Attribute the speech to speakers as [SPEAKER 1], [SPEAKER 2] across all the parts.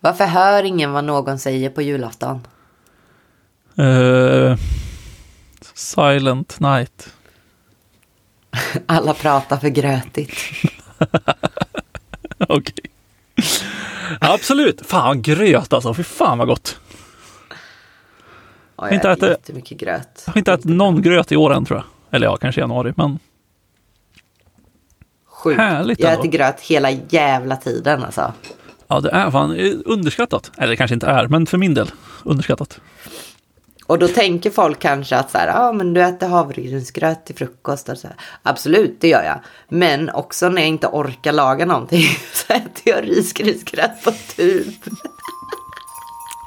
[SPEAKER 1] Varför hör ingen vad någon säger på julafton?
[SPEAKER 2] Eh, Silent Night.
[SPEAKER 1] Alla pratar för grötigt.
[SPEAKER 2] Okej. Absolut. Fan, gröt alltså. Fy fan vad gott.
[SPEAKER 1] Och jag
[SPEAKER 2] Inte
[SPEAKER 1] äter
[SPEAKER 2] äter-
[SPEAKER 1] jättemycket gröt.
[SPEAKER 2] Jag har inte ätit någon gröt i år än tror jag. Eller ja, kanske i januari, men
[SPEAKER 1] Sjukt.
[SPEAKER 2] Härligt
[SPEAKER 1] jag
[SPEAKER 2] ändå.
[SPEAKER 1] äter gröt hela jävla tiden alltså.
[SPEAKER 2] ja, det är fan eh, underskattat. Eller det kanske inte är, men för min del underskattat.
[SPEAKER 1] Och då tänker folk kanske att så här, ah, men du äter havregrynsgröt till frukost. Och så här. Absolut, det gör jag. Men också när jag inte orkar laga någonting så äter jag risgrynsgröt på typ- tub.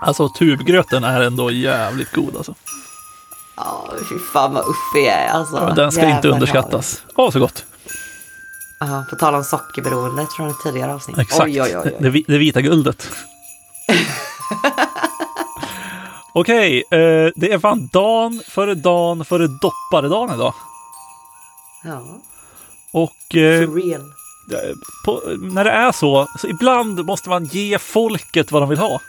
[SPEAKER 2] Alltså tubgröten är ändå jävligt god alltså.
[SPEAKER 1] Ja, fy fan vad uffig jag är alltså.
[SPEAKER 2] Ja, Den ska inte
[SPEAKER 1] Jävlar.
[SPEAKER 2] underskattas. Åh, så gott.
[SPEAKER 1] Ja, på tal om sockerberoendet från ett tidigare avsnitt.
[SPEAKER 2] Exakt.
[SPEAKER 1] Oj, oj, oj.
[SPEAKER 2] Det,
[SPEAKER 1] oj.
[SPEAKER 2] vi- det vita guldet. Okej, eh, det är fan dan före dan före dopparedagen idag.
[SPEAKER 1] Ja,
[SPEAKER 2] Och eh,
[SPEAKER 1] for real.
[SPEAKER 2] på, när det är så, så ibland måste man ge folket vad de vill ha.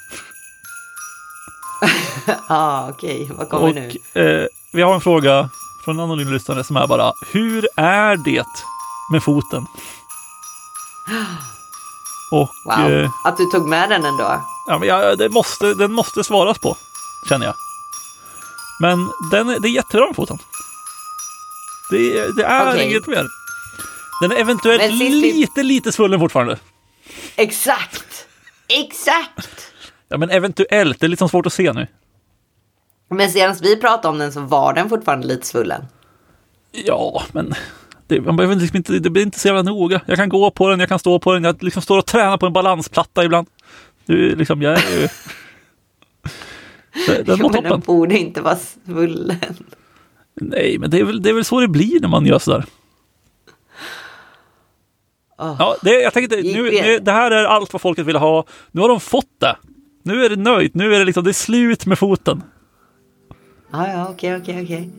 [SPEAKER 1] Ja, okej. Vad kommer nu?
[SPEAKER 2] Och eh, vi har en fråga från en anonym lyssnare som är bara, hur är det med foten? Och
[SPEAKER 1] Wow.
[SPEAKER 2] eh,
[SPEAKER 1] Att du tog med den ändå.
[SPEAKER 2] Ja, men jag, det måste, den måste svaras på, känner jag. Men den, det är jättebra med foten. Det, det är
[SPEAKER 1] Okej.
[SPEAKER 2] inget mer. Den är eventuellt
[SPEAKER 1] Men sist vi-
[SPEAKER 2] lite, lite svullen fortfarande.
[SPEAKER 1] Exakt! Exakt!
[SPEAKER 2] Ja, men eventuellt. Det är liksom svårt att se nu.
[SPEAKER 1] Men senast vi pratade om den så var den fortfarande lite svullen.
[SPEAKER 2] Ja, men det, man behöver liksom inte, det blir inte så jävla noga. Jag kan gå på den, jag kan stå på den. Jag liksom står och tränar på en balansplatta ibland. Du, liksom, jag är ju... Den- Den mår
[SPEAKER 1] men den
[SPEAKER 2] toppen.
[SPEAKER 1] borde inte vara svullen.
[SPEAKER 2] Nej, men det är, väl, det är väl så det blir när man gör sådär.
[SPEAKER 1] Ah.
[SPEAKER 2] Ja, det, jag tänkte, nu, nu, det här är allt vad folket vill ha. Nu har de fått det. Nu är det nöjt. Nu är det liksom, det är slut med foten.
[SPEAKER 1] Ja, ja, okej, okej, okej.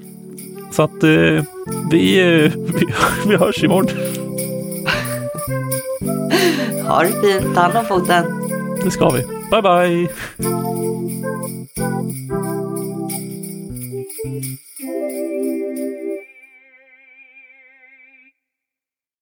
[SPEAKER 2] Så att eh, vi, eh, vi, vi hörs imorgon.
[SPEAKER 1] Ha det fint, ta hand om foten.
[SPEAKER 2] Det ska vi. Bye, bye.